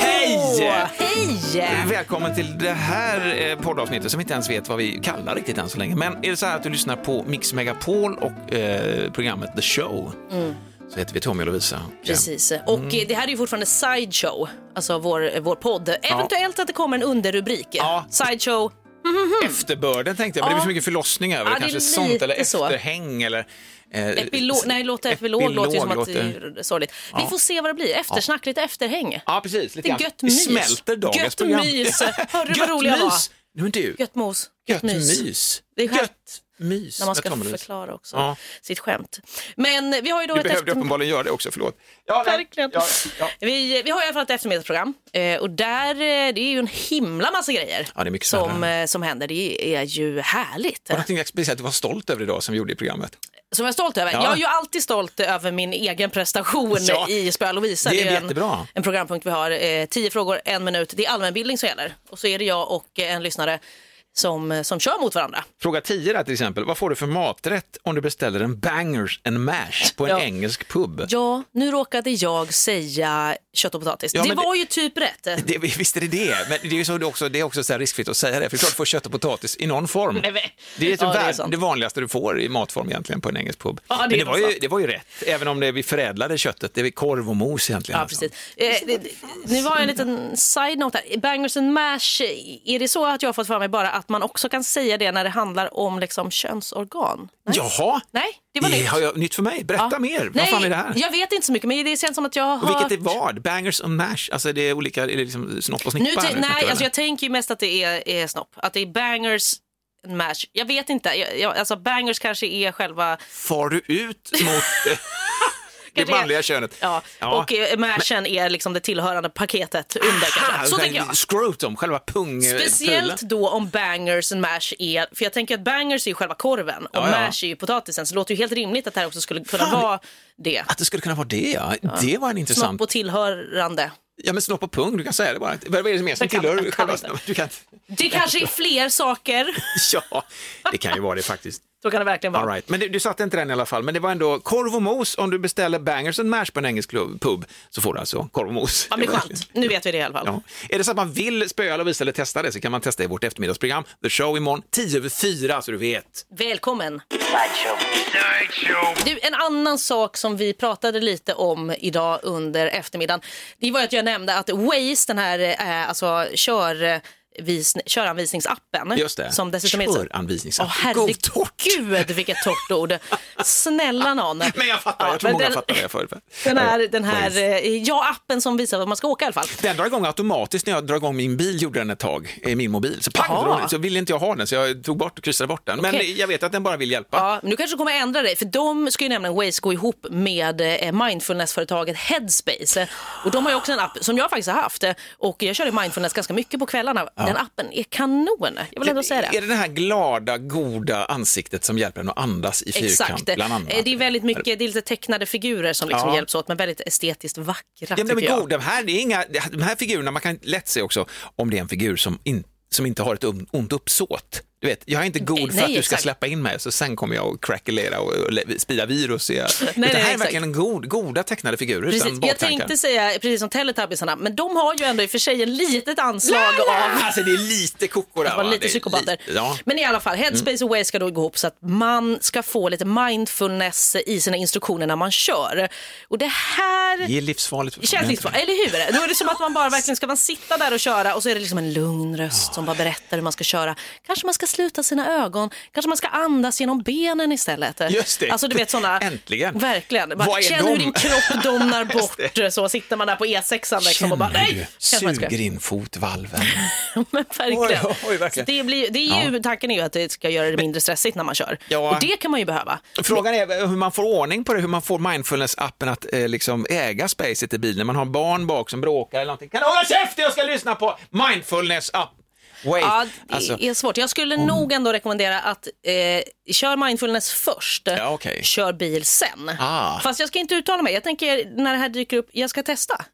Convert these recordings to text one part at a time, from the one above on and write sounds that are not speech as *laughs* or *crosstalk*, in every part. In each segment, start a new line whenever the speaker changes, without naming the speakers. Hej!
Hej!
Välkommen till det här eh, poddavsnittet som vi inte ens vet vad vi kallar riktigt än så länge. Men är det så här att du lyssnar på Mix Megapol och eh, programmet The Show så heter vi Tommy och Lovisa.
Mm. Precis. Och
Mm.
eh, det här är ju fortfarande sideshow, alltså vår, vår podd. Eventuellt att det kommer en underrubrik.
Ja.
Sideshow.
Ja. Efterbörden tänkte jag, men det blir så mycket förlossning över
Ja,
det.
det är
Kanske
lite
sånt eller
så.
efterhäng eller... Eh,
Epilog, nej, låta epilog, låter ju som att det är sorgligt. Vi
Ja.
får se vad det blir. Eftersnack, lite efterhäng.
Ja, precis.
Det är
Lite grann.
gött
det
mys.
smälter dagens
Gött
program. *laughs*
mys. Hörde du vad
Gött
rolig jag var?
mys. Nu men du,
Gött mos.
gött mys.
Det är skönt.
Gött mys.
När man
Jag
ska
tar med det.
förklara också
Ja.
sitt skämt. Men vi har ju då
Du
ett
behövde
efter...
uppenbarligen göra det också, förlåt. Ja, nej.
Verkligen.
Ja, ja.
Vi, vi har i alla fall ett eftermiddagsprogram eh, och där, eh, det är ju en himla massa grejer
Ja, det är mycket som
som, eh, som händer. Det är ju härligt.
Var det någonting speciellt du var stolt över idag som vi gjorde i programmet?
Som jag är stolt över.
Ja.
Jag är ju alltid stolt över min egen prestation
Ja.
i Spöa Lovisa.
Det är
ju en,
jättebra.
en programpunkt vi har. Eh, tio frågor, en minut. Det är allmänbildning som gäller. Och så är det jag och eh, en lyssnare som, som kör mot varandra.
Fråga 10 där till exempel, vad får du för maträtt om du beställer en bangers and mash på en
Ja.
engelsk pub?
Ja, nu råkade jag säga kött och potatis.
Ja,
det
men det-
var ju typ rätt.
Det, visst är det det, men det är ju så, det är också, det är också så här riskfritt att säga det, för det är klart du får kött och potatis i någon form.
Nej, men-
Det är, typ
Ja, det är
värld-
sant.
det vanligaste du får i matform egentligen på en engelsk pub.
Ja, det är
men det
nog
var, ju,
sant.
det var ju rätt, även om det, vi förädlade köttet, det är korv och mos egentligen.
Ja, precis. Eh, det- det- nu har jag en liten side-note här. Bangers and mash, eh, är det så att jag har fått för mig bara att man också kan säga det när det handlar om liksom könsorgan? Nej,
Jaha,
Nej det var nytt.
har jag, nytt för mig. Berätta
Ja.
mer, vad
Nej,
fan är det här?
Jag vet inte så mycket, men det känns som att jag har
Och vilket är
hört-
vad? Bangers and mash, alltså det är olika, är det liksom snopp och
Nu
snippa?
te-
här snackar
nej,
vi,
alltså
eller?
jag tänker ju mest att det är, är snopp. Att det är bangers and mash. Jag vet inte. Jag, jag, alltså bangers kanske är själva...
far du ut
*laughs*
mot det
Kanske
manliga
är-
könet.
Ja, och eh, mashen är liksom det tillhörande paketet under kanske. Så tänker jag.
Scrotum, själva pung...
Speciellt då om bangers and mash är, för jag tänker att bangers är ju själva korven och
Ja, ja.
mash är ju potatisen, så det låter ju helt rimligt att det här också skulle kunna
Fan.
vara det.
Att det skulle kunna vara det, ja. Det var en intressant...
Snopp och tillhörande.
Ja, men snopp och pung, du kan säga det bara. Vad är det mer som
Jag kan-
tillhör
jag kan
själva...
inte.
Du kan... *laughs* inte-
Det kanske är fler saker.
Ja, det kan ju vara
*laughs*
det faktiskt.
Så kan det verkligen vara.
All right. Men du, du satte inte den i alla fall, men det var ändå korv och mos. Om du beställer bangers and mash på en engelsk klubb- pub så får du alltså korv och mos.
Ja, men skönt. Nu vet vi det i alla fall.
Ja. Är det så att man vill spöa Lovisa eller testa det så kan man testa i vårt eftermiddagsprogram The Show imorgon 10 över 4 så du vet. *laughs*
Välkommen! Du, en annan sak som vi pratade lite om idag under eftermiddagen, det var att jag nämnde att Waze, den här eh, alltså, kör, vis, köranvisningsappen,
Just det.
som dessutom är så
Köranvisningsapp.
Åh
Gå torrt.
herregud vilket torrt ord. Snälla nån.
*laughs* Men jag fattar, jag tror många fattar det förut.
Den här, den här
Waze.
eh, ja, appen som visar var man ska åka i alla fall.
Den drar igång automatiskt när jag drar igång min bil, gjorde den ett tag, i min mobil. Så pang,
Jaha.
drog den. så ville inte jag ha den så jag tog bort och kryssade bort den. Men
Okej.
jag vet att den bara vill hjälpa.
Ja, men du kanske kommer att ändra dig, för de ska ju nämligen Waze gå ihop med eh, mindfulnessföretaget Headspace. Eh, Och de har ju också en app som jag faktiskt har haft eh, och jag kör ju mindfulness ganska mycket på kvällarna. Den appen är kanon, jag vill ändå säga det.
Är det det här glada, goda ansiktet som hjälper en att andas i fyrkant?
Exakt. Eh,
Bland annat?
Det är väldigt mycket, det är lite tecknade figurer som liksom
Ja.
hjälps åt, men väldigt estetiskt vackra
Ja, men
tycker jag.
god, de, här, det är inga, de här figurerna, man kan lätt se också om det är en figur som, in, som inte har ett um- ont uppsåt. Du vet, jag är inte god för
Nej,
att du ska
exakt.
släppa in mig, så sen kommer jag och crackelera och, och le- sprida virus. I, Utan
*laughs* nej,
här är
exakt.
verkligen en god, goda tecknade figurer
Precis.
utan
Jag
baktankar.
tänkte säga, precis som Teletubbiesarna, men de har ju ändå i och för sig en litet anslag av
*laughs* Alltså det är lite koko där.
Det var
va?
lite
Det är
psykopater.
li- Ja.
Men i alla fall, Headspace och Waze ska då gå ihop så att man ska få lite mindfulness i sina instruktioner när man kör. Och det här
Det är livsfarligt. för
känns
fan.
liksom, eller hur? Då är det som att man bara verkligen ska man sitta där och köra och så är det liksom en lugn röst som bara berättar hur man ska köra. Kanske man ska sluta sina ögon, kanske man ska andas genom benen istället.
Just det.
Alltså du vet sådana.
Äntligen.
Verkligen. Bara,
Vad är
känn hur
de?
din kropp domnar
*laughs* Just det.
bort. Så sitter man där på E6 liksom och bara,
Känner du?
nej! Kanske man ska-
Suger in fotvalven.
*laughs* men verkligen.
Oj, oj, verkligen.
Så Det blir, det är ju, Tanken är ju att det ska göra det mindre stressigt när man kör.
Ja.
Och det kan man ju behöva.
Frågan är hur man får ordning på det, hur man får mindfulness-appen att eh, liksom äga spacet i bilen. Man har barn bak som bråkar eller någonting. Kan du hålla käften, jag ska lyssna på mindfulness-app. Wave.
Ja, det
Alltså-
är svårt. Jag skulle nog ändå rekommendera att eh, kör mindfulness först,
Ja, okej.
kör bil sen.
Ah.
Fast jag ska inte uttala mig. Jag tänker när det här dyker upp, jag ska testa.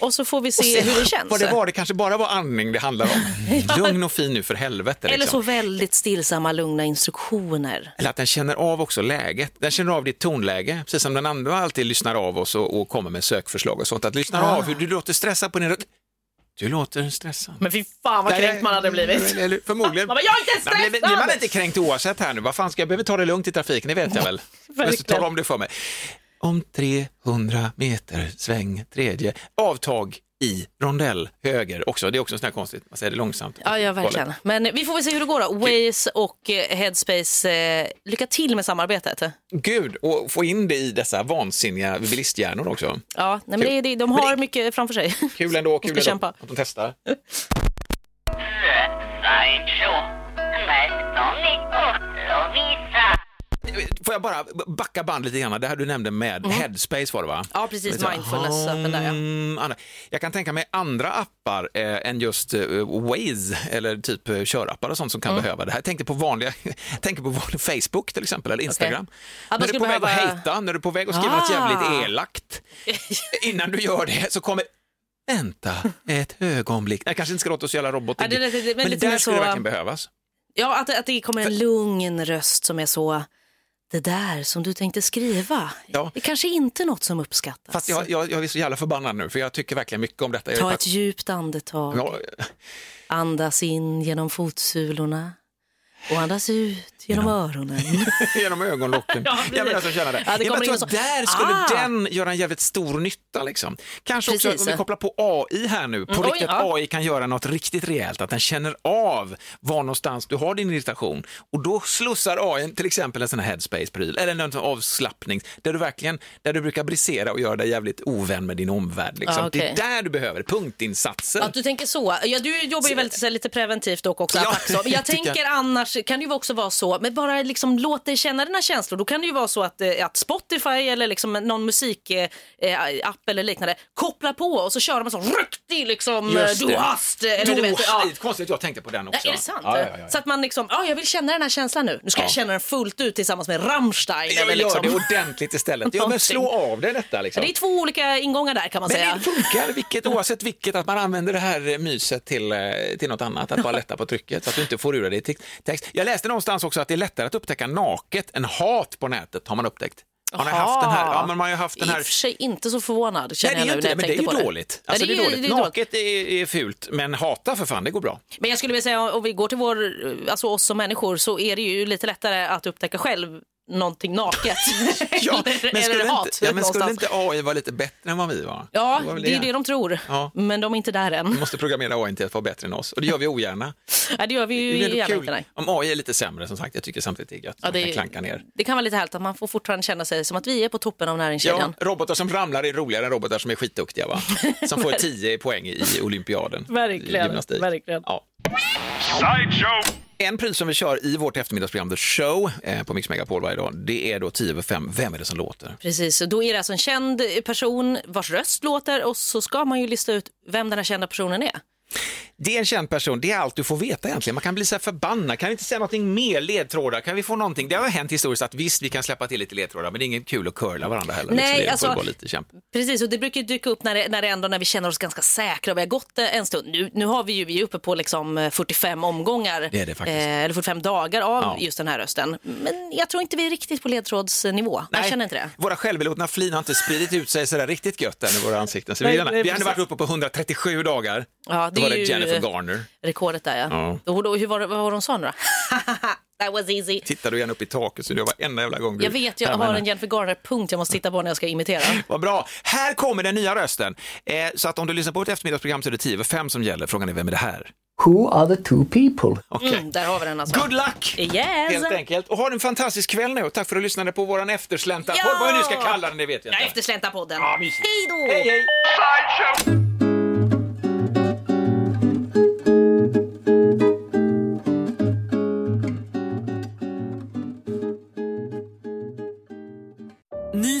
Och så får vi se hur det känns.
*laughs* Vad det var, liksom. det kanske bara var andning det handlar
*laughs*
om. Lugn och fin nu för helvete.
Eller
liksom.
så väldigt stillsamma, lugna instruktioner.
Eller att den känner av också läget. Den känner av ditt tonläge, precis som den andra alltid lyssnar av oss och, och kommer med sökförslag och sånt. Att lyssna
Ah.
av hur du låter stressad på din röst. Du låter stressad.
Men fy fan vad
Där
kränkt
är-
man hade blivit.
Eller- eller
*laughs*
Förmodligen.
Man bara, jag är inte
Man blir- Blir man
stressad!
inte kränkt oavsett här nu? Vad fan, ska jag behöva ta det lugnt i trafiken? Det vet jag väl. Men
*laughs*
så
Verkligen.
tala om det för mig. Om 300 meter, sväng tredje, avtag i rondell, höger också. Det är också sånt här konstigt, man säger det långsamt.
Ja, ja, verkligen. Men vi får väl se hur det går då. Waze och eh, Headspace, eh, lycka till med samarbetet.
Gud, och få in det i dessa vansinniga bilisthjärnor också.
Ja, nej, men det, det, de har mycket framför sig.
*laughs* Kul ändå,
ska
kul ändå
kämpa.
att de testar.
Sideshow med Tony och oh, Lovisa.
Får jag bara backa band lite grann, det här du nämnde med Headspace var det va?
Mm. Ja, precis.
Lite så här,
Mindfulness-appen där, ja.
hmm, andra. Jag kan tänka mig andra appar eh, än just eh, Waze eller typ eh, körappar och sånt som kan
Mm.
behöva det här. Jag tänkte på vanliga, *laughs* jag tänker på vanlig Facebook till exempel eller Instagram.
man
När du är
skulle
på väg att
behöva-
hejta, när du är på väg att skriva något
Ah. *laughs*
jävligt elakt. Innan du gör det så kommer Vänta ett ögonblick. Jag kanske inte ska låta oss göra robot.
Ja, det- det- det- men
men det
lite
där
mer
skulle
så,
verkligen behövas.
Ja, att, att det kommer en lugn röst som är så, det där som du tänkte skriva,
Ja.
det kanske inte är något som uppskattas.
Fast jag, jag, jag är så jävla förbannad nu för jag tycker verkligen mycket om detta. Jag
Ta
är
ett djupt andetag,
Ja, *laughs*
andas in genom fotsulorna och andas ut genom öronen.
genom ögonlocken.
*laughs* Ja,
alltså,
precis.
jag menar som känner det.
Ja, det
jag
kommer
tror
in
att
så-
där skulle
Ah!
den göra en jävligt stor nytta. Liksom. Kanske också
Precis.
om vi kopplar på AI här nu, på
Mm, oj,
riktigt att
ja.
AI kan göra något riktigt rejält, att den känner av var någonstans du har din irritation och då slussar AI till exempel en sån här headspace-pryl eller någon sån avslappning där du verkligen, där du brukar brisera och göra dig jävligt ovän med din omvärld. Liksom.
Ja, Ah, okej.
Det är där du behöver punktinsatser.
Att du tänker så. Ja, du jobbar ju väldigt så här, lite preventivt och också
Ja,
attacksom.
det
Jag
*laughs* tycker
tänker annars kan det ju också vara så, men bara liksom låt dig känna dina känslor. Då kan det ju vara så att, eh, att Spotify eller liksom någon musikapp eh, app eller liknande kopplar på och så kör de en sån riktig liksom eh,
Just
du
det.
hast eh, eller
Du,
du vet. Ja.
Konstigt, jag tänkte på den också.
Ja, är det sant?
Ja, ja, ja, ja.
Så att man liksom, ja jag vill känna den här känslan nu. Nu ska jag känna den fullt ut tillsammans med Rammstein.
Jag
eller
vill göra
liksom.
det ordentligt istället. Ja, men
Någonting.
slå av det detta liksom.
det är två olika ingångar där kan man säga.
Men det funkar vilket, oavsett vilket, att man använder det här eh, myset till, eh, till något annat, att bara lätta på trycket så att du inte får ur dig te- text. Jag läste någonstans också att det är lättare att upptäcka naket än hat på nätet, har man upptäckt. Man har haft den här, ja, men man har ju haft den
I
här
och för sig inte så förvånad
Nej,
känner
det är ju
jag nu
inte
när jag
det, men det är
tänkte på
ju
det.
dåligt.
Ja,
Alltså, det är dåligt.
ju dåligt.
Naket är, är fult, men hata för fan, det
*laughs*
går bra.
Men jag skulle vilja säga om vi går till vår, alltså oss som människor så är det ju lite lättare att upptäcka själv någonting
*laughs*
naket. eller eller
skulle,
hat
inte, ja, men skulle
någonstans.
inte AI vara lite bättre än vad vi var?
Ja,
var väl
det är ju det de tror.
Ja. Mm.
Men de är inte där än.
Vi måste programmera AI till att vara bättre än oss och det gör vi ogärna.
Nej, det gör vi ju
Det är ändå
gärna
kul.
inte. Nej.
Om AI är lite sämre som sagt, jag tycker samtidigt det är gött.
Ja,
Man
det,
kan klanka ner.
det kan vara lite härligt att man får fortfarande känna sig som att vi är på toppen av
Ja,
näringskedjan.
robotar som ramlar är roligare än robotar som är skitduktiga
*laughs*
va? Som får 10 poäng i olympiaden.
Verkligen,
i gymnastik.
verkligen.
Ja. En pris som vi kör i vårt eftermiddagsprogram The Show eh, på Mix Megapol varje dag, det är då 10 över 5. Vem är det som låter?
Precis, och då är det alltså en känd person vars röst låter och så ska man ju lista ut vem den här kända personen är.
Det är en känd person, det är allt du får veta egentligen. Man kan bli så här förbannad, kan vi inte säga någonting mer? Ledtrådar, kan vi få någonting? Det har hänt historiskt att visst, vi kan släppa till lite ledtrådar, men det är inget kul att curla varandra heller.
Nej,
liksom. det
alltså-
får vara lite kämp.
Precis, och det brukar ju dyka upp när, det, när, det ändå, när vi känner oss ganska säkra och vi har gått eh, en stund. Nu, nu har vi ju, vi är uppe på liksom eh, 45 omgångar,
Det är det faktiskt.
eh, eller 45 dagar av
Ja.
just den här rösten. Men jag tror inte vi är riktigt på ledtrådsnivå. Jag känner inte det.
Våra självbelåtna flin har inte spridit ut sig sådär riktigt gött än i våra ansikten. Så vi,
Nej,
har-
nej,
vi har ändå varit
precis.
uppe på 137 dagar.
Ja, det
Då var
är
det
ju-
Jennifer Garner.
Rekordet där ja.
Ja.
Då, då, hur var, det- vad var de sa nu då? *laughs* That was easy.
Tittar du igen upp i taket så det var enda jävla gång du...
Jag vet, jag
Ja, men-
har en Jennifer Garner-punkt jag måste titta på när jag ska imitera.
Vad bra. Här kommer den nya rösten. Eh, så att om du lyssnar på ett eftermiddagsprogram så är det 10 över 5 som gäller. Frågan är vem är det här?
Who are the two people?
*laughs* Okej.
Mm, där har vi den alltså.
Good luck!
Yes!
Helt enkelt. Och ha en fantastisk kväll nu. Tack för att du lyssnade på våran efterslänta.
Ja!
Vad- Vad vi nu ska kalla den, det vet jag
Jag
inte.
eftersläntar podden.
Ja, mysigt.
Hej då!
Hej, hej!
Ny